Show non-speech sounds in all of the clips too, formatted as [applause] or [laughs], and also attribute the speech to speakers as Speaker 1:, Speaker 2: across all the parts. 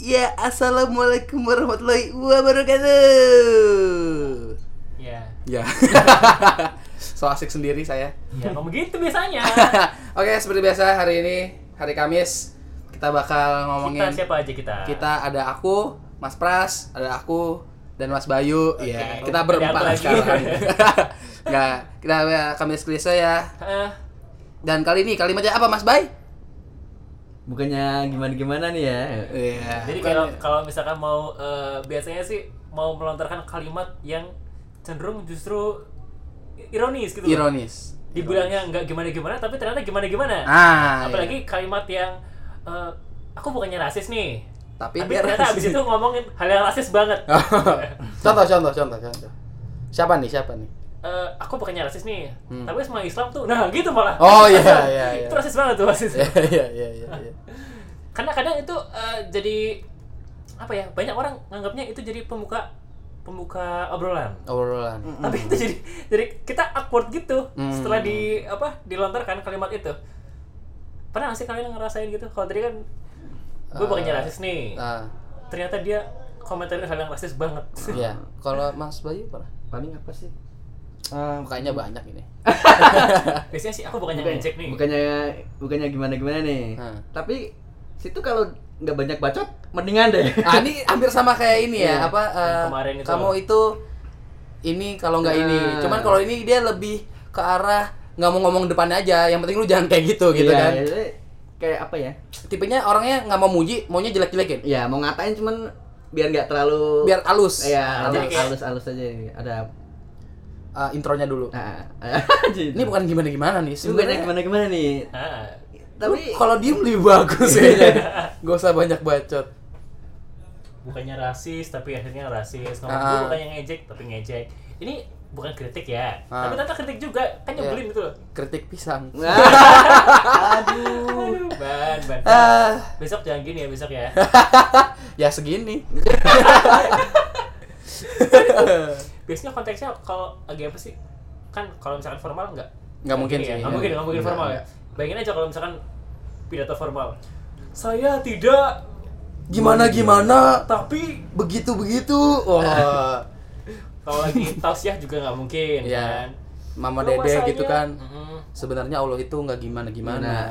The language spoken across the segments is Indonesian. Speaker 1: Ya, assalamualaikum warahmatullahi wabarakatuh.
Speaker 2: Ya.
Speaker 1: Ya, [laughs] so asik sendiri saya. [laughs]
Speaker 2: Ya, emang begitu biasanya.
Speaker 1: Oke, seperti biasa hari ini hari Kamis kita bakal ngomongin
Speaker 2: kita siapa aja kita?
Speaker 1: Kita ada aku, Mas Pras, ada aku dan Mas Bayu.
Speaker 2: Oke.
Speaker 1: Ya, kita
Speaker 2: Ada aku
Speaker 1: berempat
Speaker 2: lagi.
Speaker 1: sekarang. [laughs] Nggak, kita Kamis Klise ya.
Speaker 2: Eh,
Speaker 1: Dan kali ini kalimatnya apa Mas Bay?
Speaker 3: bukannya gimana-gimana nih ya
Speaker 1: Iya.
Speaker 2: jadi kalau kalau misalkan mau eh, biasanya sih mau melontarkan kalimat yang cenderung justru ironis gitu. loh.
Speaker 1: ironis.
Speaker 2: Dibilangnya nggak gimana-gimana tapi ternyata gimana-gimana.
Speaker 1: Ah, iya.
Speaker 2: Apalagi kalimat yang eh, aku bukannya rasis nih.
Speaker 1: tapi,
Speaker 2: Tapi
Speaker 1: dia
Speaker 2: ternyata abis
Speaker 1: rasis. [laughs] Ah.
Speaker 2: itu ngomongin hal yang rasis banget.
Speaker 1: contoh, contoh, contoh, contoh. Siapa nih? Siapa nih?
Speaker 2: Eh, aku bukannya rasis nih,
Speaker 1: Hmm.
Speaker 2: tapi semua Islam tuh, nah gitu malah.
Speaker 1: Oh,
Speaker 2: [laughs]
Speaker 1: iya, iya, iya.
Speaker 2: Itu rasis banget tuh rasis.
Speaker 1: Iya, iya, iya, iya, iya.
Speaker 2: karena kadang itu eh, jadi apa ya banyak orang nganggapnya itu jadi pembuka pembuka obrolan
Speaker 1: Obrolan.
Speaker 2: tapi itu jadi jadi kita awkward gitu
Speaker 1: Hmm.
Speaker 2: setelah di apa dilontarkan kalimat itu pernah nggak sih kalian ngerasain gitu kalau tadi kan gue
Speaker 1: Eh,
Speaker 2: bukannya rasis nih
Speaker 1: Nah,
Speaker 2: ternyata dia komentarin hal yang rasis banget
Speaker 1: iya. Kalau Mas Bayu pernah?
Speaker 3: paling apa sih Eh,
Speaker 1: Kayaknya banyak ini.
Speaker 2: [laughs] biasanya sih aku bukannya
Speaker 3: bukannya,
Speaker 2: ngecek nih
Speaker 3: bukannya bukannya gimana-gimana nih
Speaker 1: Hmm.
Speaker 3: tapi situ kalau nggak banyak bacot mendingan deh
Speaker 1: Ah, ini hampir sama kayak ini ya.
Speaker 3: Iya,
Speaker 1: Apa eh,
Speaker 2: kemarin itu.
Speaker 1: kamu itu ini kalau nggak ini.
Speaker 3: Nah.
Speaker 1: Cuman kalau ini dia lebih ke arah nggak mau ngomong depan aja. Yang penting lu jangan kayak gitu gitu
Speaker 3: Iya,
Speaker 1: kan.
Speaker 3: jadi kayak apa ya
Speaker 1: Tipenya orangnya nggak mau muji, maunya jelek-jelekin.
Speaker 3: ya mau ngatain cuman biar nggak terlalu
Speaker 1: Biar halus.
Speaker 3: ya
Speaker 2: Jadi
Speaker 3: halus,
Speaker 2: kayak-
Speaker 3: halus halus aja ada
Speaker 1: Eh, intronya dulu.
Speaker 3: nah, [laughs]
Speaker 1: Ini bukan gimana-gimana nih.
Speaker 3: bukannya
Speaker 1: Sebenarnya
Speaker 3: gimana-gimana nih
Speaker 2: Ah,
Speaker 3: tapi
Speaker 1: Lu kalau diem lebih bagus ya. kayaknya. Iya. Gak usah banyak bacot.
Speaker 2: bukannya rasis tapi akhirnya rasis ngomong
Speaker 1: Ah.
Speaker 2: gue bukannya ngejek tapi ngejek ini bukan kritik ya
Speaker 1: Ah.
Speaker 2: tapi ternyata kritik juga kan
Speaker 1: Iya.
Speaker 2: nyebelin gitu loh
Speaker 1: Kritik pisang.
Speaker 3: Nah,
Speaker 1: [laughs]
Speaker 3: aduh
Speaker 2: ban ban
Speaker 1: Ah,
Speaker 2: besok jangan gini ya besok ya
Speaker 1: ya segini.
Speaker 2: biasanya konteksnya kalau lagi apa sih kan kalau misalkan formal nggak
Speaker 1: Nggak mungkin
Speaker 2: gini ya
Speaker 1: sih,
Speaker 2: nggak
Speaker 1: iya.
Speaker 2: mungkin nggak mungkin
Speaker 1: Nggak,
Speaker 2: formal ya
Speaker 1: nggak.
Speaker 2: bayangin aja kalau misalkan pidato formal saya tidak
Speaker 1: Gimana gimana Nah.
Speaker 2: tapi
Speaker 1: begitu begitu. Wah. [laughs]
Speaker 2: kalau lagi tausiah juga nggak mungkin
Speaker 1: Iya.
Speaker 2: kan
Speaker 1: Mama
Speaker 2: Lu
Speaker 1: Dede
Speaker 2: masanya-
Speaker 1: gitu kan.
Speaker 2: Mm-mm.
Speaker 1: Sebenarnya Allah itu nggak gimana gimana.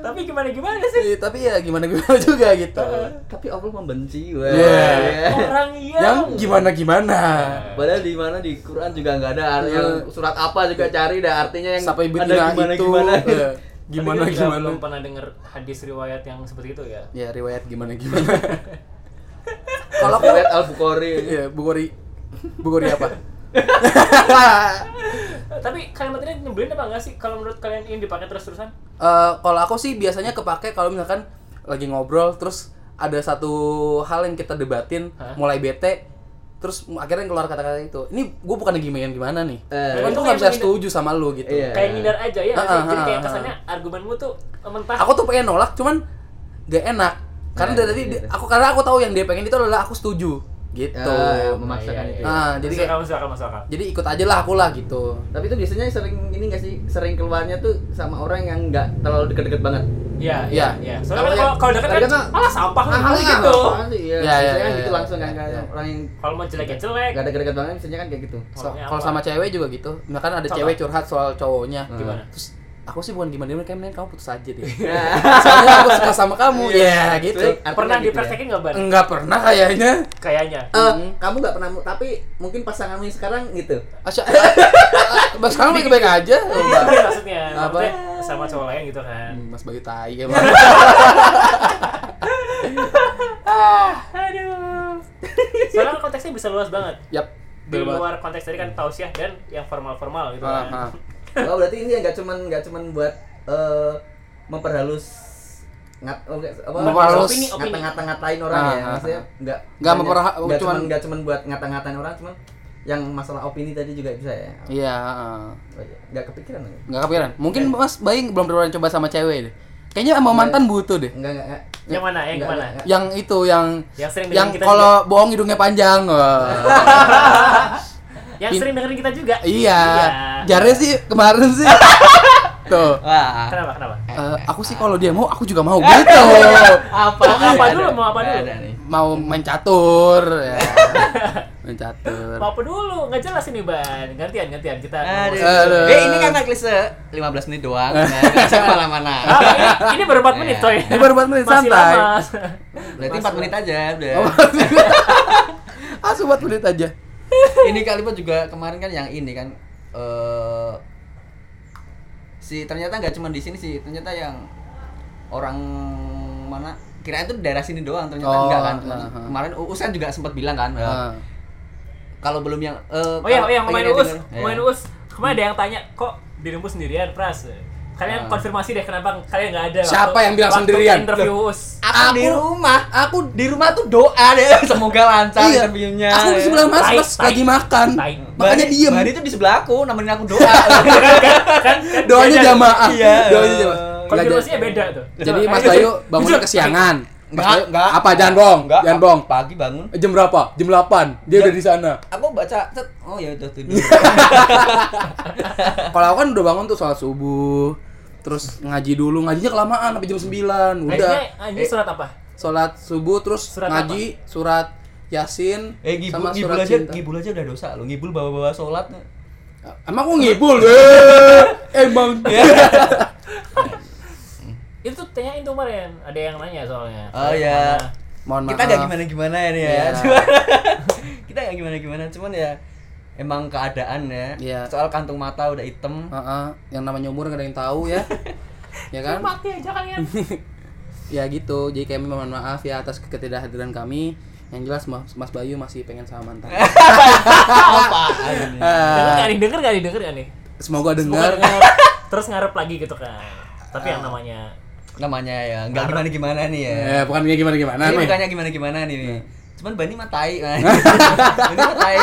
Speaker 2: tapi gimana gimana sih
Speaker 1: Eh, Tapi ya gimana gimana juga gitu.
Speaker 3: tapi Allah membenci wah
Speaker 1: Iya.
Speaker 2: orang
Speaker 1: [laughs]
Speaker 2: yang, Nah,
Speaker 1: Yang gimana gimana.
Speaker 3: Padahal di mana di Quran juga nggak ada arti
Speaker 1: Iya.
Speaker 3: yang surat apa juga cari dah artinya yang
Speaker 1: Sampai
Speaker 3: ada
Speaker 1: betina
Speaker 3: gimana
Speaker 1: itu.
Speaker 3: gimana.
Speaker 1: eh,
Speaker 3: [laughs]
Speaker 2: Tapi
Speaker 1: Gimana
Speaker 2: gue juga
Speaker 1: gimana.
Speaker 2: belum pernah denger hadis riwayat yang seperti itu ya
Speaker 1: Ya riwayat gimana gimana.
Speaker 3: Kalau aku lihat Al Bukhari
Speaker 1: Iya,
Speaker 3: [laughs]
Speaker 1: Bukori. Bukori apa?
Speaker 2: tapi kalimat ini nyebelin apa nggak sih kalau menurut kalian ini dipakai terus terusan
Speaker 1: Eh, kalau aku sih biasanya kepake kalau misalkan lagi ngobrol terus ada satu hal yang kita debatin
Speaker 2: Hah?
Speaker 1: mulai bete terus akhirnya keluar kata-kata itu ini gue bukan gimana gimana nih
Speaker 3: Eh.
Speaker 1: Cuman
Speaker 2: Itu
Speaker 1: gue nggak bisa
Speaker 2: kayak-
Speaker 1: setuju sama lu gitu
Speaker 3: Iya.
Speaker 2: kayak ngindar aja ya nggak sih?
Speaker 1: Ah, ah,
Speaker 2: jadi
Speaker 1: ah,
Speaker 2: kayak
Speaker 1: ah.
Speaker 2: kesannya argumenmu tuh mentah
Speaker 1: aku tuh pengen nolak cuman gak enak karena
Speaker 3: Nah,
Speaker 1: dari tadi
Speaker 3: iya,
Speaker 1: dia-
Speaker 3: iya.
Speaker 1: aku karena aku tahu yang dia pengen itu adalah aku setuju gitu
Speaker 3: Eh, memaksakan itu.
Speaker 1: Ah, jadi
Speaker 2: jadi
Speaker 1: kayak-
Speaker 2: kamu suka masuk akal
Speaker 1: jadi ikut aja lah aku lah gitu
Speaker 3: Tapi itu biasanya sering ini nggak sih sering keluarnya tuh sama orang yang nggak terlalu deket-deket banget.
Speaker 2: iya
Speaker 1: Iya.
Speaker 2: iya iya
Speaker 1: Kalau
Speaker 2: soalnya kan kalau
Speaker 1: yang-
Speaker 2: kalau dekat
Speaker 3: kalau
Speaker 2: kan
Speaker 3: dekat mah-
Speaker 2: malah sampah
Speaker 3: Ah,
Speaker 2: ngomong gitu
Speaker 3: apaan sih? Iya, Eh.
Speaker 1: Iya, iya,
Speaker 3: biasanya kan
Speaker 1: iya,
Speaker 3: gitu
Speaker 1: iya.
Speaker 3: langsung kan nggak
Speaker 1: Iya.
Speaker 3: orang yang
Speaker 2: kalau mau jelek ya jelek
Speaker 3: nggak deket-deket banget biasanya kan kayak [laughs] gitu.
Speaker 1: So-
Speaker 2: Ngomongnya
Speaker 1: kalau
Speaker 2: apa?
Speaker 1: sama cewek juga gitu misalkan ada
Speaker 2: Contoh?
Speaker 1: cewek curhat soal cowoknya
Speaker 2: Gimana?
Speaker 1: terus aku sih bukan gimana gimana kayak mendingan kamu putus aja deh [laughs]
Speaker 3: Nah,
Speaker 1: soalnya aku suka sama kamu
Speaker 2: Iya,
Speaker 1: ya gitu
Speaker 3: Cuek, artinya
Speaker 2: pernah
Speaker 3: gitu ya.
Speaker 2: dipraktekin nggak ban
Speaker 1: nggak pernah kayaknya
Speaker 2: kayaknya
Speaker 3: Eh, kamu nggak pernah mu- tapi mungkin pasanganmu yang sekarang gitu.
Speaker 1: Asya, eh, mas sekarang baik baik aja
Speaker 2: Iya,
Speaker 1: Mbak.
Speaker 2: maksudnya
Speaker 1: Apa?
Speaker 2: maksudnya sama cowok lain gitu kan
Speaker 1: Hmm, mas bagi tai emang
Speaker 2: Iya.
Speaker 1: Hmm.
Speaker 2: aduh soalnya kan konteksnya bisa luas banget
Speaker 1: yap
Speaker 2: di
Speaker 1: bener banget.
Speaker 2: luar konteks tadi kan tausiah dan yang formal-formal gitu
Speaker 1: Ah, ah.
Speaker 2: kan
Speaker 3: Oh, berarti ini nggak cuman nggak cuman buat eh, memperhalus ngat oh, nggak- apa
Speaker 1: Memperhalus.
Speaker 2: Opini, opini.
Speaker 3: ngata-ngata-ngatain orang
Speaker 1: Ah,
Speaker 3: ya
Speaker 1: ah,
Speaker 3: maksudnya nggak
Speaker 1: Nggak
Speaker 3: hanya-
Speaker 1: memperha-
Speaker 3: nggak cuman
Speaker 1: cuman-
Speaker 3: nggak cuman buat ngata-ngatain orang cuman yang masalah opini tadi juga bisa ya
Speaker 1: iya ah.
Speaker 3: Oh, iya. nggak kepikiran nggak
Speaker 1: nggak kepikiran mungkin mas bayi belum pernah coba sama cewek deh kayaknya
Speaker 2: Iya.
Speaker 1: sama mantan butuh deh
Speaker 3: nggak nggak, nggak.
Speaker 2: yang mana yang
Speaker 3: Nggak,
Speaker 2: mana
Speaker 3: nggak,
Speaker 1: yang itu yang
Speaker 2: yang sering
Speaker 1: yang
Speaker 2: dengerin kita juga
Speaker 1: kalau bohong hidungnya panjang
Speaker 2: [laughs]
Speaker 1: Wah.
Speaker 2: yang sering dengerin kita juga
Speaker 3: Iya.
Speaker 2: Iya.
Speaker 3: [laughs]
Speaker 1: Iya. Jarnya sih kemarin sih. gitu.
Speaker 3: Wah.
Speaker 2: Kenapa? Kenapa?
Speaker 1: Eh, aku sih kalau dia mau, aku juga mau
Speaker 3: [laughs]
Speaker 1: gitu.
Speaker 3: Apa?
Speaker 2: Mau Oh, apa
Speaker 3: Ada.
Speaker 2: dulu? Mau apa dulu?
Speaker 3: Ada nih.
Speaker 1: mau main catur
Speaker 3: [laughs]
Speaker 1: ya. main catur.
Speaker 2: Mau apa dulu? Nggak jelas ini ban. Gantian, gantian. Kita.
Speaker 3: Aduh.
Speaker 1: Aduh.
Speaker 3: Eh ini kan klise 15 menit [laughs] doang. Nah, nggak usah mana-mana.
Speaker 2: Ah, ini, ini baru
Speaker 3: [laughs]
Speaker 2: 4 menit, coy.
Speaker 1: Ini baru 4 menit,
Speaker 2: Masih
Speaker 1: santai.
Speaker 2: lama.
Speaker 3: Berarti 4 menit aja udah. [laughs]
Speaker 1: ah, sobat menit aja.
Speaker 3: ini kalimat juga kemarin kan yang ini kan eh si ternyata nggak cuma di sini sih ternyata yang orang mana kirain itu daerah sini doang ternyata
Speaker 1: Oh,
Speaker 3: enggak kan Cuman
Speaker 1: aha.
Speaker 3: kemarin Uus kan juga sempat bilang kan eh,
Speaker 1: Ah.
Speaker 3: kalau belum yang eh,
Speaker 2: Oh iya, oh iya,
Speaker 3: kalau
Speaker 2: main
Speaker 3: pengen
Speaker 2: us,
Speaker 3: dengar-
Speaker 2: main
Speaker 3: iya.
Speaker 2: us. Kemarin ada yang tanya, kok dirimu sendirian, Pras? Kalian konfirmasi deh kenapa kalian nggak ada.
Speaker 1: Ah. Siapa
Speaker 2: waktu-
Speaker 1: yang bilang
Speaker 2: waktu
Speaker 1: sendirian?
Speaker 2: Interview us.
Speaker 3: aku, di
Speaker 1: Aku-
Speaker 3: rumah
Speaker 1: Aku
Speaker 3: di rumah tuh doa deh [laughs] semoga lancar
Speaker 1: Iya.
Speaker 3: interviewnya
Speaker 1: Aku di
Speaker 3: ya.
Speaker 1: sebelah Mas,
Speaker 2: Tai,
Speaker 1: Mas
Speaker 2: tai,
Speaker 1: lagi makan.
Speaker 2: tai.
Speaker 1: [laughs] Makanya
Speaker 3: Bari-
Speaker 1: diem.
Speaker 3: Bari itu di sebelah aku nemenin aku
Speaker 1: [laughs]
Speaker 3: doa
Speaker 2: Kan, kan
Speaker 1: Doanya
Speaker 2: beda.
Speaker 1: jamaah.
Speaker 3: Iya.
Speaker 1: Doanya jamaah.
Speaker 2: Konfirmasinya beda tuh.
Speaker 1: Jadi
Speaker 2: Coba,
Speaker 1: Mas
Speaker 2: ayo.
Speaker 1: Bayu bangunnya
Speaker 2: Jujur.
Speaker 1: kesiangan. Mas
Speaker 3: Enggak,
Speaker 1: Bayu-
Speaker 3: enggak.
Speaker 1: Apa jangan bohong?
Speaker 3: Enggak,
Speaker 1: Jangan bohong.
Speaker 3: pagi bangun
Speaker 1: Jam berapa? Jam 8. Dia udah di sana.
Speaker 3: aku baca cet, oh ya udah tidur
Speaker 1: Kalau aku kan udah bangun tuh sholat subuh. Terus ngaji dulu, ngajinya kelamaan sampai jam 9. Udah.
Speaker 3: Eh, iya.
Speaker 2: Akhirnya, anjing ah, surat apa?
Speaker 1: Sholat subuh terus
Speaker 2: Surat
Speaker 1: ngaji surat Yasin
Speaker 3: Eh ngibul,
Speaker 1: sama
Speaker 3: ngibul
Speaker 1: surat
Speaker 3: aja,
Speaker 1: cinta. Nah,
Speaker 3: ngibul aja udah dosa lo, ngibul bawa-bawa sholat
Speaker 1: Emang aku
Speaker 3: [laughs]
Speaker 1: ngibul? Eh, Emang.
Speaker 3: Iya.
Speaker 2: Itu tuh tanyain tuh kemarin. Ada yang nanya soalnya.
Speaker 3: Oh, iya.
Speaker 2: Mana?
Speaker 1: Mohon maaf.
Speaker 3: Kita gak gimana-gimana ya nih ya
Speaker 1: Iya.
Speaker 3: Cuman- [laughs] Kita gak gimana-gimana, cuman ya Emang keadaan ya
Speaker 1: Iya.
Speaker 3: Soal kantung mata udah hitam
Speaker 1: Heeh, yang namanya umur gak ada yang tahu
Speaker 3: [laughs]
Speaker 1: ya. ya kan?
Speaker 2: Nah,
Speaker 1: [laughs]
Speaker 2: Mati aja kalian.
Speaker 1: ya gitu. Jadi kami mohon maaf ya atas ketidakhadiran kami. Yang jelas Mas, Mas Bayu masih pengen sama
Speaker 3: [laughs]
Speaker 1: mantan.
Speaker 3: Apaan
Speaker 2: Denger
Speaker 3: ini?
Speaker 1: Eh,
Speaker 2: nggak nih? Denger nggak nih? Denger nggak nih?
Speaker 1: semoga
Speaker 2: Semoga
Speaker 1: dengar.
Speaker 2: dengar. Terus ngarep lagi gitu kan. Tapi
Speaker 1: Ah.
Speaker 2: yang namanya
Speaker 3: Namanya ya, gak gimana-gimana nih
Speaker 1: Eh,
Speaker 3: ya
Speaker 1: bukan kayak gimana gimana.
Speaker 3: Ini
Speaker 1: Meh.
Speaker 3: bukannya gimana-gimana nih
Speaker 1: Nah.
Speaker 3: nih. Cuman Bani
Speaker 1: [laughs]
Speaker 3: matai Bani matai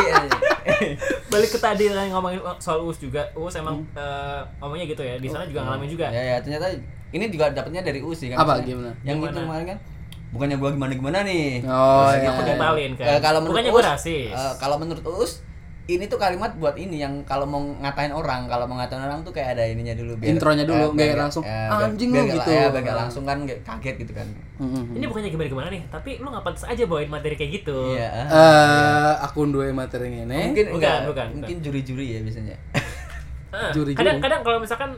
Speaker 2: balik ke tadi kan ngomongin soal us juga us emang
Speaker 1: Hmm.
Speaker 2: eh, ngomongnya gitu ya di sana
Speaker 1: Oh,
Speaker 2: juga ngalamin juga
Speaker 1: iya.
Speaker 3: Ya ya ternyata ini juga dapatnya dari USI kan
Speaker 1: Apa,
Speaker 3: maksudnya.
Speaker 1: gimana?
Speaker 3: Yang itu
Speaker 2: Gimana?
Speaker 3: kemarin kan Bukannya gua gimana-gimana nih
Speaker 1: Oh,
Speaker 3: Terus
Speaker 1: iya.
Speaker 3: gitu.
Speaker 2: Ngetalin kan.
Speaker 3: Eh, kalau menurut
Speaker 2: Bukannya gua
Speaker 3: Uus,
Speaker 2: rasis.
Speaker 3: eh, kalau menurut Uus ini tuh kalimat buat ini yang kalau mau ngatain orang, kalau mau ngatain orang tuh kayak ada ininya dulu
Speaker 1: Intronya dulu, nggak
Speaker 3: biar-
Speaker 1: langsung,
Speaker 3: eh, biar-
Speaker 1: "Anjing
Speaker 3: biar
Speaker 1: lu,"
Speaker 3: nggak-
Speaker 1: gitu.
Speaker 3: ya, biar nggak langsung kan nggak kaget gitu kan.
Speaker 1: Mm-mm.
Speaker 2: ini bukannya gimana gimana nih tapi lu nggak pantas aja bawain materi kayak gitu
Speaker 3: Iya. ah.
Speaker 1: Eh, aku dua materi ini.
Speaker 3: mungkin
Speaker 2: bukan,
Speaker 3: enggak,
Speaker 2: bukan,
Speaker 3: mungkin juri-juri ya biasanya. [laughs]
Speaker 2: Eh,
Speaker 1: Juri-juri.
Speaker 2: kadang-kadang kalau misalkan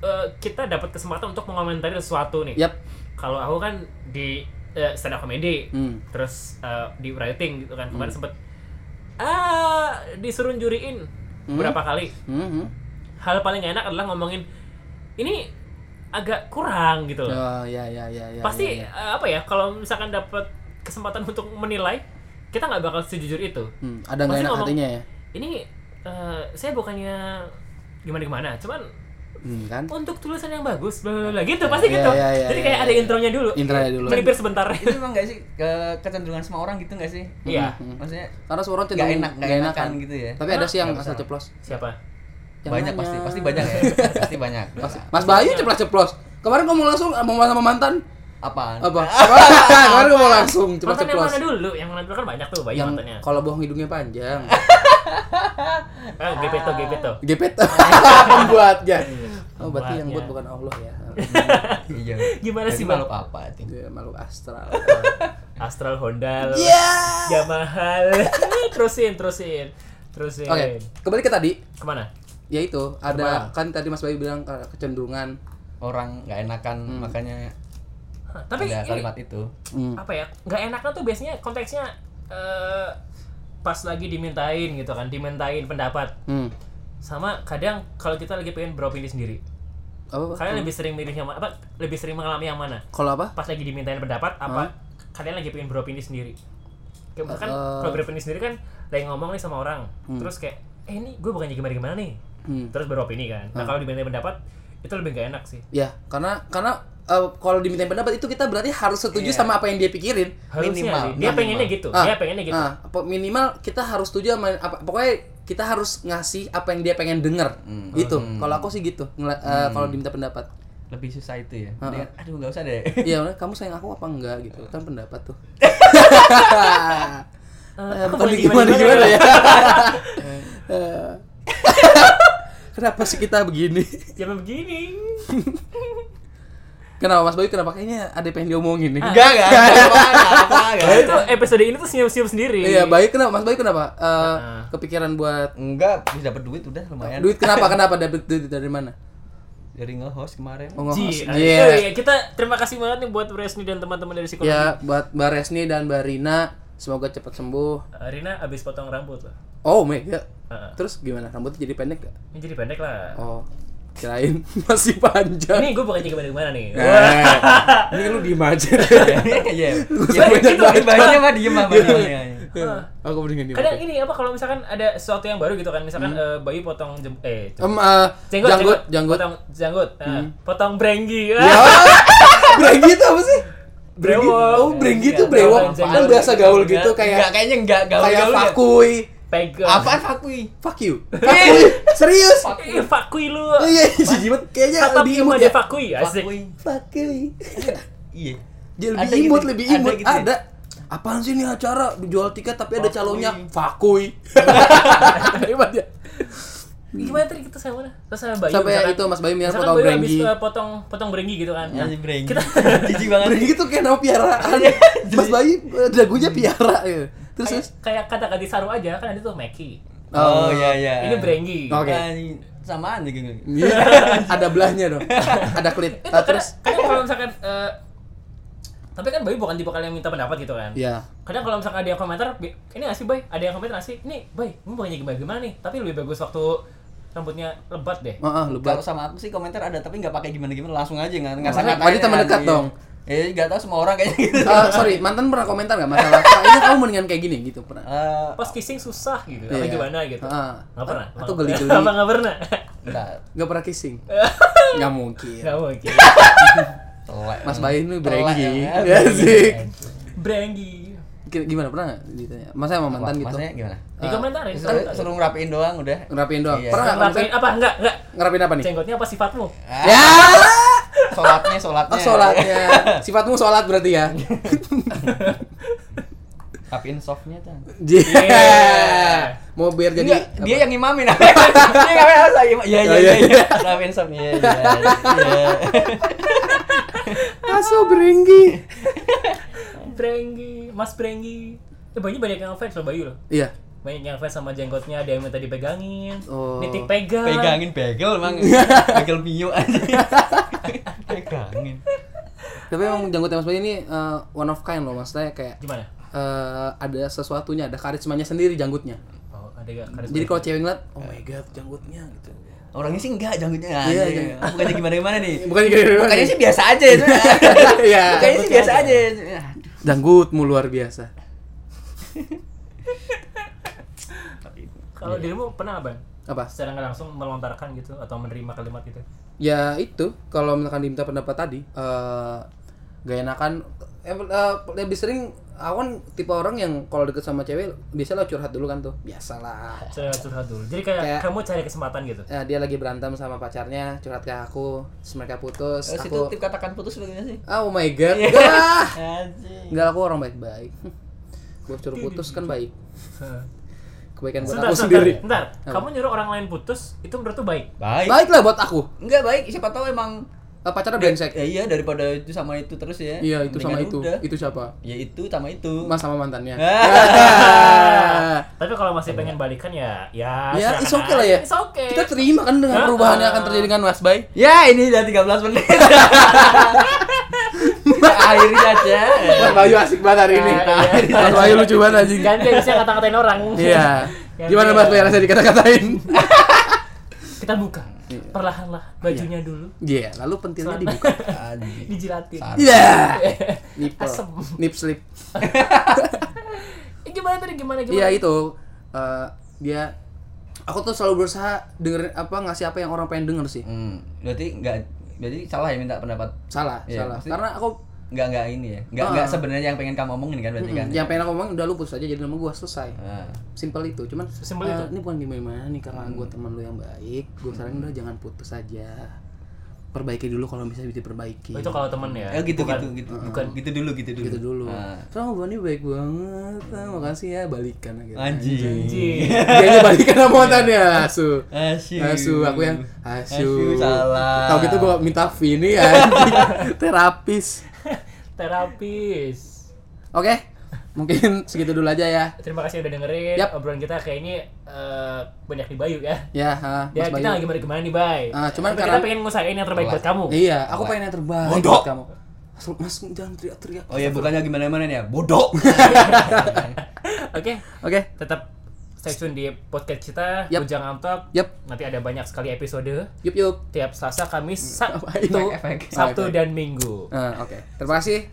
Speaker 2: eh, kita dapat kesempatan untuk mengomentari sesuatu nih
Speaker 1: Yap.
Speaker 2: kalau aku kan di eh, stand up comedy
Speaker 1: Hmm.
Speaker 2: terus eh, di writing gitu kan kemarin sempet ah disuruh juriin
Speaker 1: Hmm.
Speaker 2: berapa kali
Speaker 1: Mhm.
Speaker 2: hal paling enak adalah ngomongin ini agak kurang gitu loh
Speaker 1: Oh, ya ya ya ya.
Speaker 2: pasti
Speaker 1: ya, ya.
Speaker 2: eh, apa ya kalau misalkan dapat kesempatan untuk menilai kita nggak bakal sejujur itu
Speaker 1: Hmm, ada nggak
Speaker 2: pasti
Speaker 1: enak
Speaker 2: ngomong-
Speaker 1: hatinya ya?
Speaker 2: ini eh, saya bukannya gimana gimana cuman
Speaker 1: Hmm, kan?
Speaker 2: untuk tulisan yang bagus bla bla bla gitu pasti
Speaker 1: Iya,
Speaker 2: gitu
Speaker 1: iya, iya,
Speaker 2: jadi
Speaker 1: iya,
Speaker 2: kayak
Speaker 1: iya.
Speaker 2: ada intronya dulu
Speaker 1: Intronya dulu.
Speaker 2: melipir sebentar [laughs]
Speaker 3: itu emang nggak sih ke- kecenderungan semua orang gitu nggak sih?
Speaker 2: iya
Speaker 3: Maksudnya
Speaker 1: Karena semua orang
Speaker 3: Nggak
Speaker 1: cenderung
Speaker 3: enak, nggak enakan gitu ya.
Speaker 1: Tapi ada sih yang
Speaker 3: Nggak
Speaker 1: asal
Speaker 3: masalah.
Speaker 1: ceplos.
Speaker 2: siapa
Speaker 1: Yang
Speaker 3: banyak
Speaker 1: mana?
Speaker 3: pasti, pasti banyak ya. pasti
Speaker 1: [laughs]
Speaker 3: banyak.
Speaker 1: Mas, Mas Bayu ceplos-ceplos. Kemarin ngomong langsung ah, mau sama mantan
Speaker 3: Apaan? [laughs]
Speaker 1: apa? Kemarin ngomong langsung
Speaker 2: mantan yang
Speaker 1: ceplos-ceplos.
Speaker 2: mana dulu yang mana dulu kan banyak tuh banyak
Speaker 1: Yang
Speaker 2: mantannya
Speaker 1: kalau bohong hidungnya
Speaker 2: [laughs]
Speaker 1: panjang.
Speaker 2: eh, gepeto gepeto
Speaker 1: Gepet [laughs] pembuatnya. Oh, berarti yang
Speaker 2: Pembuatnya.
Speaker 1: buat bukan Allah
Speaker 2: [laughs]
Speaker 1: ya.
Speaker 3: Iya.
Speaker 2: Gimana
Speaker 3: Jadi
Speaker 2: sih, Bang?
Speaker 3: makhluk apa itu?
Speaker 1: Dia makhluk astral. [laughs]
Speaker 2: astral honda
Speaker 1: Ya.
Speaker 2: Yamaha [laughs] terusin terusin terusin
Speaker 1: Oke, kembali ke tadi.
Speaker 2: kemana
Speaker 1: Yaitu ada kan tadi Mas Bayu bilang eh, kecenderungan
Speaker 3: Orang nggak enakan makanya
Speaker 2: Hah, tapi ini
Speaker 3: ada kalimat itu.
Speaker 1: Hmm.
Speaker 2: apa ya nggak enaknya tuh biasanya konteksnya eh, pas lagi dimintain gitu kan dimintain pendapat
Speaker 1: Hmm.
Speaker 2: sama kadang kalau kita lagi pengen beropini sendiri
Speaker 1: Apa?
Speaker 2: kalian lebih sering milih yang mana apa lebih sering mengalami yang mana
Speaker 1: Kalau apa?
Speaker 2: pas lagi dimintain pendapat
Speaker 1: Hah?
Speaker 2: apa kalian lagi pengen beropini sendiri kayak misalkan
Speaker 1: Eh.
Speaker 2: kalau beropini sendiri kan lagi ngomong nih sama orang terus kayak eh ini gue bukannya gimana gimana nih
Speaker 1: Hmm.
Speaker 2: terus beropini kan nah kalau dimintain pendapat itu lebih nggak enak sih
Speaker 1: Ya, karena karena eh, kalau diminta pendapat itu kita berarti harus setuju sama apa yang dia pikirin.
Speaker 2: Iya. harusnya
Speaker 3: Minimal,
Speaker 2: sih dia
Speaker 3: minimal.
Speaker 2: pengennya gitu
Speaker 1: Ah,
Speaker 2: dia pengennya gitu
Speaker 1: ah, apa- minimal kita harus setuju sama apa pokoknya kita harus ngasih apa yang dia pengen denger. Gitu. Kalau aku sih gitu ngela- eh, kalau diminta pendapat.
Speaker 3: Lebih susah itu ya. Mendingan, aduh nggak usah
Speaker 1: [laughs]
Speaker 3: deh.
Speaker 1: Iya, bener, kamu sayang aku apa enggak gitu. Kan pendapat
Speaker 2: [laughs]
Speaker 1: tuh.
Speaker 2: Eh,
Speaker 1: Eh,
Speaker 2: aku
Speaker 1: bukan
Speaker 2: Eh,
Speaker 1: ya?
Speaker 2: [laughs] boleh
Speaker 1: gimana gimana ya. Eh, [laughs] Kenapa sih kita begini?
Speaker 2: Jangan begini.
Speaker 1: Kenapa Mas Bayu? Kenapa kayaknya ada yang pengen diomongin
Speaker 2: Ah,
Speaker 1: nih?
Speaker 3: Enggak, enggak. Apa
Speaker 2: Nah, itu episode ini tuh senyum-senyum sendiri.
Speaker 1: Iya, Bayu kenapa? Mas Bayu kenapa? Eh,
Speaker 2: Heeh.
Speaker 1: kepikiran buat
Speaker 3: Enggak, bisa dapat duit udah
Speaker 2: Iya.
Speaker 3: lumayan.
Speaker 1: duit kenapa? Kenapa dapat duit dari mana?
Speaker 3: Dari nge-host kemarin.
Speaker 1: Oh, nge-host.
Speaker 2: Ji,
Speaker 1: Iya.
Speaker 2: ayo, ya, kita terima kasih banget nih buat Resni dan teman-teman dari psikologi.
Speaker 1: Ya, buat Mbak Resni dan Mbak Rina, semoga cepat sembuh.
Speaker 2: Eh, Rina abis potong rambut loh.
Speaker 1: Oh, mega.
Speaker 2: Heeh.
Speaker 1: Terus gimana? Rambutnya jadi pendek gak?
Speaker 2: Ini jadi pendek lah.
Speaker 1: Oh, kirain [laughs] masih panjang.
Speaker 2: Ini gue bukan gimana gimana nih.
Speaker 1: Eh,
Speaker 2: [laughs]
Speaker 1: ini lu diem aja.
Speaker 3: [laughs] Iya.
Speaker 1: usah banyak
Speaker 3: Itu bahannya mah diem Iya, sama dia.
Speaker 1: Aku mendingan diem.
Speaker 2: Kadang ini apa kalau misalkan ada sesuatu yang baru gitu kan, misalkan eh, Bayu potong jem eh
Speaker 1: Em, Hmm. eh, janggut,
Speaker 2: jenggot,
Speaker 1: janggut. Hmm.
Speaker 2: potong janggut, eh, potong brenggi.
Speaker 1: Ya, [laughs]
Speaker 2: Ah,
Speaker 1: brenggi itu apa sih? Brenggi.
Speaker 2: Brewok.
Speaker 1: Oh, brenggi itu
Speaker 2: Iya,
Speaker 1: brewok.
Speaker 2: brewok,
Speaker 1: Kan biasa gaul gitu
Speaker 3: Enggak,
Speaker 1: kayak
Speaker 3: kayaknya enggak gaul
Speaker 1: kayak
Speaker 3: gaul.
Speaker 1: fakui.
Speaker 2: Pegel.
Speaker 3: Apaan Kan fakui?
Speaker 1: Fuck you.
Speaker 3: [laughs]
Speaker 1: Fakui. Serius?
Speaker 2: Eh, fakui lu.
Speaker 1: Iya, jijik banget. kayaknya
Speaker 2: Kata
Speaker 1: lebih
Speaker 2: Bima
Speaker 1: imut
Speaker 2: dia
Speaker 1: ya.
Speaker 2: fakui, asik.
Speaker 3: Fakui. [laughs]
Speaker 1: Fakui.
Speaker 3: Iya.
Speaker 1: Dia
Speaker 3: Ada
Speaker 1: lebih
Speaker 3: gitu-
Speaker 1: imut, lebih
Speaker 3: ada
Speaker 1: imut.
Speaker 3: gitu ya?
Speaker 1: Ada. Apaan sih ini acara dijual tiket tapi ada
Speaker 3: Fakui.
Speaker 1: calonnya
Speaker 3: [laughs]
Speaker 1: fakui. Hebat ya.
Speaker 2: Gimana tadi kita sama mana? Terus sama Bayu.
Speaker 1: Sampai
Speaker 2: misalkan-
Speaker 1: itu Mas Hmm. Bayu Mira
Speaker 2: misalkan
Speaker 1: potong
Speaker 2: Bayu
Speaker 1: brenggi.
Speaker 2: abis, eh, potong potong brenggi gitu kan. Nah,
Speaker 3: Anjing Iya, brenggi.
Speaker 2: Kita
Speaker 3: [laughs]
Speaker 2: [laughs]
Speaker 3: Jijik banget.
Speaker 1: Brenggi itu kayak nama
Speaker 3: [laughs]
Speaker 1: piaraan.
Speaker 3: Iya,
Speaker 1: Mas Bayu eh, dagunya piara gitu. Terus terus.
Speaker 2: kayak- kayak kata ganti saru aja kan ada tuh Meki.
Speaker 3: Oh, iya iya.
Speaker 2: Ini brenggi.
Speaker 1: Oke.
Speaker 3: Anjing, Samaan juga.
Speaker 1: Iya. [laughs] ada belahnya dong. Ada kulit.
Speaker 2: Itu
Speaker 1: Ah,
Speaker 2: kadang,
Speaker 1: terus
Speaker 2: kadang kalau misalkan eh, tapi kan Bayu bukan tipe kalian yang minta pendapat gitu kan.
Speaker 1: ya.
Speaker 2: Kadang kalau misalkan ada yang komentar, "Bi- ini ngasih Bay, ada yang komentar ngasih, ini Bay, ini bukannya gimana gimana nih, tapi lebih bagus waktu rambutnya lebat deh.
Speaker 1: Heeh,
Speaker 3: Kalau
Speaker 1: lebat.
Speaker 3: sama aku sih komentar ada tapi nggak pakai gimana-gimana langsung aja nggak nggak
Speaker 1: Maksudnya,
Speaker 3: sangka-sangka,
Speaker 1: Nah, berarti teman dekat
Speaker 3: anjing.
Speaker 1: dong.
Speaker 3: Eh nggak tahu semua orang kayaknya gitu.
Speaker 1: Eh, sorry, mantan pernah komentar nggak masalah? Kayaknya kamu mendingan kayak gini gitu pernah.
Speaker 3: Eh,
Speaker 2: Pas kissing susah gitu,
Speaker 1: Iya.
Speaker 2: apa gimana gitu.
Speaker 1: Heeh.
Speaker 2: Nggak pernah.
Speaker 1: Atau
Speaker 2: [laughs] Nggak-
Speaker 1: geli-geli. Iya.
Speaker 2: Apa nggak pernah?
Speaker 3: nggak
Speaker 1: Gak pernah kissing. Gak mungkin.
Speaker 2: Nggak mungkin.
Speaker 3: telek.
Speaker 1: Mas Bayu ini
Speaker 3: Telek,
Speaker 1: brenggi.
Speaker 3: ya.
Speaker 1: Ya sih.
Speaker 2: Brenggi.
Speaker 1: Ki- Gimana pernah nggak ditanya? Masa sama mantan gitu?
Speaker 3: Maksudnya gimana?
Speaker 2: Di komentarin.
Speaker 3: Suruh, suruh ngerapiin doang udah.
Speaker 1: Ngerapin doang.
Speaker 3: Iya.
Speaker 1: Pernah nggak?
Speaker 2: Ngerapain
Speaker 1: Maksudnya
Speaker 2: apa? Enggak, enggak.
Speaker 1: Ngerapin apa nih?
Speaker 2: Jenggotnya apa sifatmu?
Speaker 3: Ah, [laughs]
Speaker 1: Ya.
Speaker 3: Sholatnya, sholatnya.
Speaker 1: Oh,
Speaker 3: [laughs]
Speaker 1: sholatnya. Sifatmu sholat berarti ya.
Speaker 3: Rapiin softnya tuh.
Speaker 1: Yeah. Mau biar jadi
Speaker 3: Iya. Enggak,
Speaker 1: apa?
Speaker 3: dia yang ngimamin. [laughs] dia yang harus lagi. Iya iya
Speaker 1: Oh,
Speaker 3: iya.
Speaker 1: iya,
Speaker 3: iya. Rapiin softnya. Iya iya.
Speaker 1: [laughs]
Speaker 3: iya.
Speaker 1: Aso berenggi.
Speaker 2: Brenggi, Mas Brenggi. Eh, Bayu banyak yang fans loh Bayu loh.
Speaker 1: Iya.
Speaker 2: Banyak yang fans sama jenggotnya, ada yang minta dipegangin.
Speaker 1: Oh.
Speaker 2: Nitik pegang.
Speaker 3: Pegangin bagel
Speaker 1: [laughs]
Speaker 3: emang. bagel mio aja. Pegangin.
Speaker 1: Tapi emang janggutnya Mas Bayu ini eh, one of kind loh maksudnya kayak
Speaker 2: Gimana?
Speaker 1: eh, ada sesuatunya, ada karismanya sendiri janggutnya.
Speaker 2: Oh, ada gak karis?
Speaker 1: Jadi kalau cewek ngeliat, oh
Speaker 3: Eh.
Speaker 1: my god janggutnya gitu.
Speaker 3: Orangnya sih enggak janggutnya.
Speaker 1: Iya,
Speaker 3: anjing.
Speaker 1: iya.
Speaker 3: Bukannya gimana-gimana nih.
Speaker 1: Bukan gitu.
Speaker 3: Bukannya
Speaker 1: [laughs]
Speaker 3: sih biasa aja itu.
Speaker 1: Iya.
Speaker 3: Bukannya sih biasa aja. Ya,
Speaker 1: Janggutmu luar biasa.
Speaker 2: Kalau
Speaker 1: Iya.
Speaker 2: dirimu pernah abang?
Speaker 1: Apa?
Speaker 2: Secara nggak langsung melontarkan gitu atau menerima kalimat gitu.
Speaker 1: ya itu kalau misalkan diminta pendapat tadi eh gak enakan eh, eh, lebih sering aku kan tipe orang yang kalau deket sama cewek biasanya lo curhat dulu kan tuh biasalah
Speaker 2: Saya curhat dulu. Jadi kayak,
Speaker 1: Kayak-
Speaker 2: kamu cari kesempatan gitu.
Speaker 1: Eh, dia lagi berantem sama pacarnya curhat ke aku terus mereka putus
Speaker 3: Terus Iya. itu
Speaker 1: aku
Speaker 3: tip katakan putus bagaimana sih?
Speaker 1: oh my god enggak
Speaker 3: Anjing.
Speaker 1: enggak aku orang baik baik gue suruh putus kan baik
Speaker 2: Hah.
Speaker 1: kebaikan buat
Speaker 2: Sebentar,
Speaker 1: aku
Speaker 2: sebentar,
Speaker 1: sendiri
Speaker 2: sebentar. Kamu nyuruh orang lain putus, itu menurut tuh baik.
Speaker 3: Baik.
Speaker 1: baik lah buat aku
Speaker 3: Enggak baik, siapa tahu emang
Speaker 1: Eh, pacarnya brengsek
Speaker 3: ya iya daripada itu sama itu terus ya.
Speaker 1: iya itu sama
Speaker 3: Mendingan
Speaker 1: itu
Speaker 3: udah.
Speaker 1: itu siapa
Speaker 3: Ya itu sama itu.
Speaker 1: mas sama mantannya
Speaker 2: Tapi kalau masih pengen balikan ya,
Speaker 1: [laughs]
Speaker 2: ya.
Speaker 1: Ya,
Speaker 2: silakan
Speaker 1: it's okay lah
Speaker 2: aja.
Speaker 1: ya.
Speaker 2: It's okay.
Speaker 1: Kita terima kan dengan
Speaker 2: Heeh.
Speaker 1: perubahan yang akan terjadi dengan Mas Bay.
Speaker 3: Ya ini udah
Speaker 1: [laughs]
Speaker 3: 13 menit. Akhirnya aja.
Speaker 1: Mas Bayu asik banget hari ini.
Speaker 2: Nah, iya.
Speaker 1: Ah, [laughs] Mas Bayu lucu banget anjing.
Speaker 2: Ganti bisa ngata-ngatain orang.
Speaker 1: Iya. Gimana Mas Bayu rasanya dikata-katain?
Speaker 2: [laughs]
Speaker 1: [laughs]
Speaker 2: Kita buka. Perlahan-lahan bajunya dulu
Speaker 1: Iya, lalu pentilnya dibuka. [laughs]
Speaker 3: Anjing.
Speaker 2: dijilatin.
Speaker 3: Saat-
Speaker 1: Iya. Nipple.
Speaker 2: Asem.
Speaker 1: Nip slip.
Speaker 2: Eh, gimana tadi gimana gimana?
Speaker 1: Iya itu. Eh, dia aku tuh selalu berusaha dengerin apa ngasih apa yang orang pengen denger sih.
Speaker 3: Hmm, berarti enggak berarti salah ya minta pendapat.
Speaker 1: Salah,
Speaker 3: Iya,
Speaker 1: salah.
Speaker 3: pasti-
Speaker 1: Karena aku
Speaker 3: Enggak enggak ini ya. Enggak
Speaker 1: Ah.
Speaker 3: enggak sebenarnya yang pengen kamu omongin kan berarti kan.
Speaker 1: mm, yang pengen aku ngomongin udah lu putus aja jadi nama gua selesai.
Speaker 3: Ah.
Speaker 1: Simpel itu, cuman
Speaker 2: Sesimpel
Speaker 1: eh,
Speaker 2: itu.
Speaker 1: ini bukan gimana nih karena gua teman lu yang baik, gua saranin udah jangan putus aja. perbaiki dulu kalau misalnya diperbaiki.
Speaker 2: Oh, itu kalau temen ya
Speaker 3: Eh, gitu
Speaker 2: bukan-
Speaker 3: gitu gitu.
Speaker 2: bukan
Speaker 3: gitu dulu gitu dulu.
Speaker 1: gitu dulu.
Speaker 3: Ah.
Speaker 1: Soalnya hubungannya baik banget. Ah, makasih ya balikan gitu.
Speaker 3: Anjing.
Speaker 2: Anjing.
Speaker 1: Dianya balikan sama mantan
Speaker 3: [laughs]
Speaker 1: ya, asu.
Speaker 3: Asu.
Speaker 1: Asu, aku yang asu.
Speaker 3: Asu, salah.
Speaker 1: Tahu gitu gua minta Vini anjing. [laughs] Terapis.
Speaker 2: [laughs] terapis
Speaker 1: Oke. Mungkin segitu dulu aja ya.
Speaker 2: terima kasih udah dengerin
Speaker 1: Yap.
Speaker 2: obrolan kita kayaknya eh, banyak di Bayu ya
Speaker 1: Ya, ha,
Speaker 2: ya
Speaker 1: Mas
Speaker 2: kita
Speaker 1: Bayu.
Speaker 2: lagi bagaimana nih Bay
Speaker 1: Ah, cuman
Speaker 2: Tapi
Speaker 1: karena-
Speaker 2: kita pengen ngusahain yang terbaik buat kamu
Speaker 1: Iya, aku pengen yang terbaik
Speaker 3: Bodoh.
Speaker 1: buat kamu. Mas, mas jangan teriak-teriak.
Speaker 3: Oh ya bukannya gimana-mana nih ya.
Speaker 1: [laughs]
Speaker 3: Bodoh.
Speaker 2: [laughs] oke
Speaker 1: Oke.
Speaker 2: tetap stay tune di podcast kita
Speaker 1: Yap.
Speaker 2: Bujang Amtop
Speaker 1: Yap.
Speaker 2: nanti ada banyak sekali episode
Speaker 1: Yup yup.
Speaker 2: tiap Selasa, Kamis,
Speaker 1: Hmm. Apa ini?
Speaker 2: Sabtu,
Speaker 3: Efek, efek.
Speaker 2: Sabtu
Speaker 1: Efek.
Speaker 2: dan Minggu
Speaker 1: Nah, oke. Terima kasih.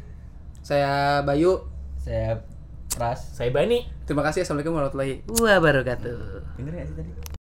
Speaker 1: Saya Bayu.
Speaker 3: Saya Pras.
Speaker 2: saya Bani
Speaker 1: Terima kasih. Assalamualaikum warahmatullahi wabarakatuh.
Speaker 3: Bener gak sih tadi?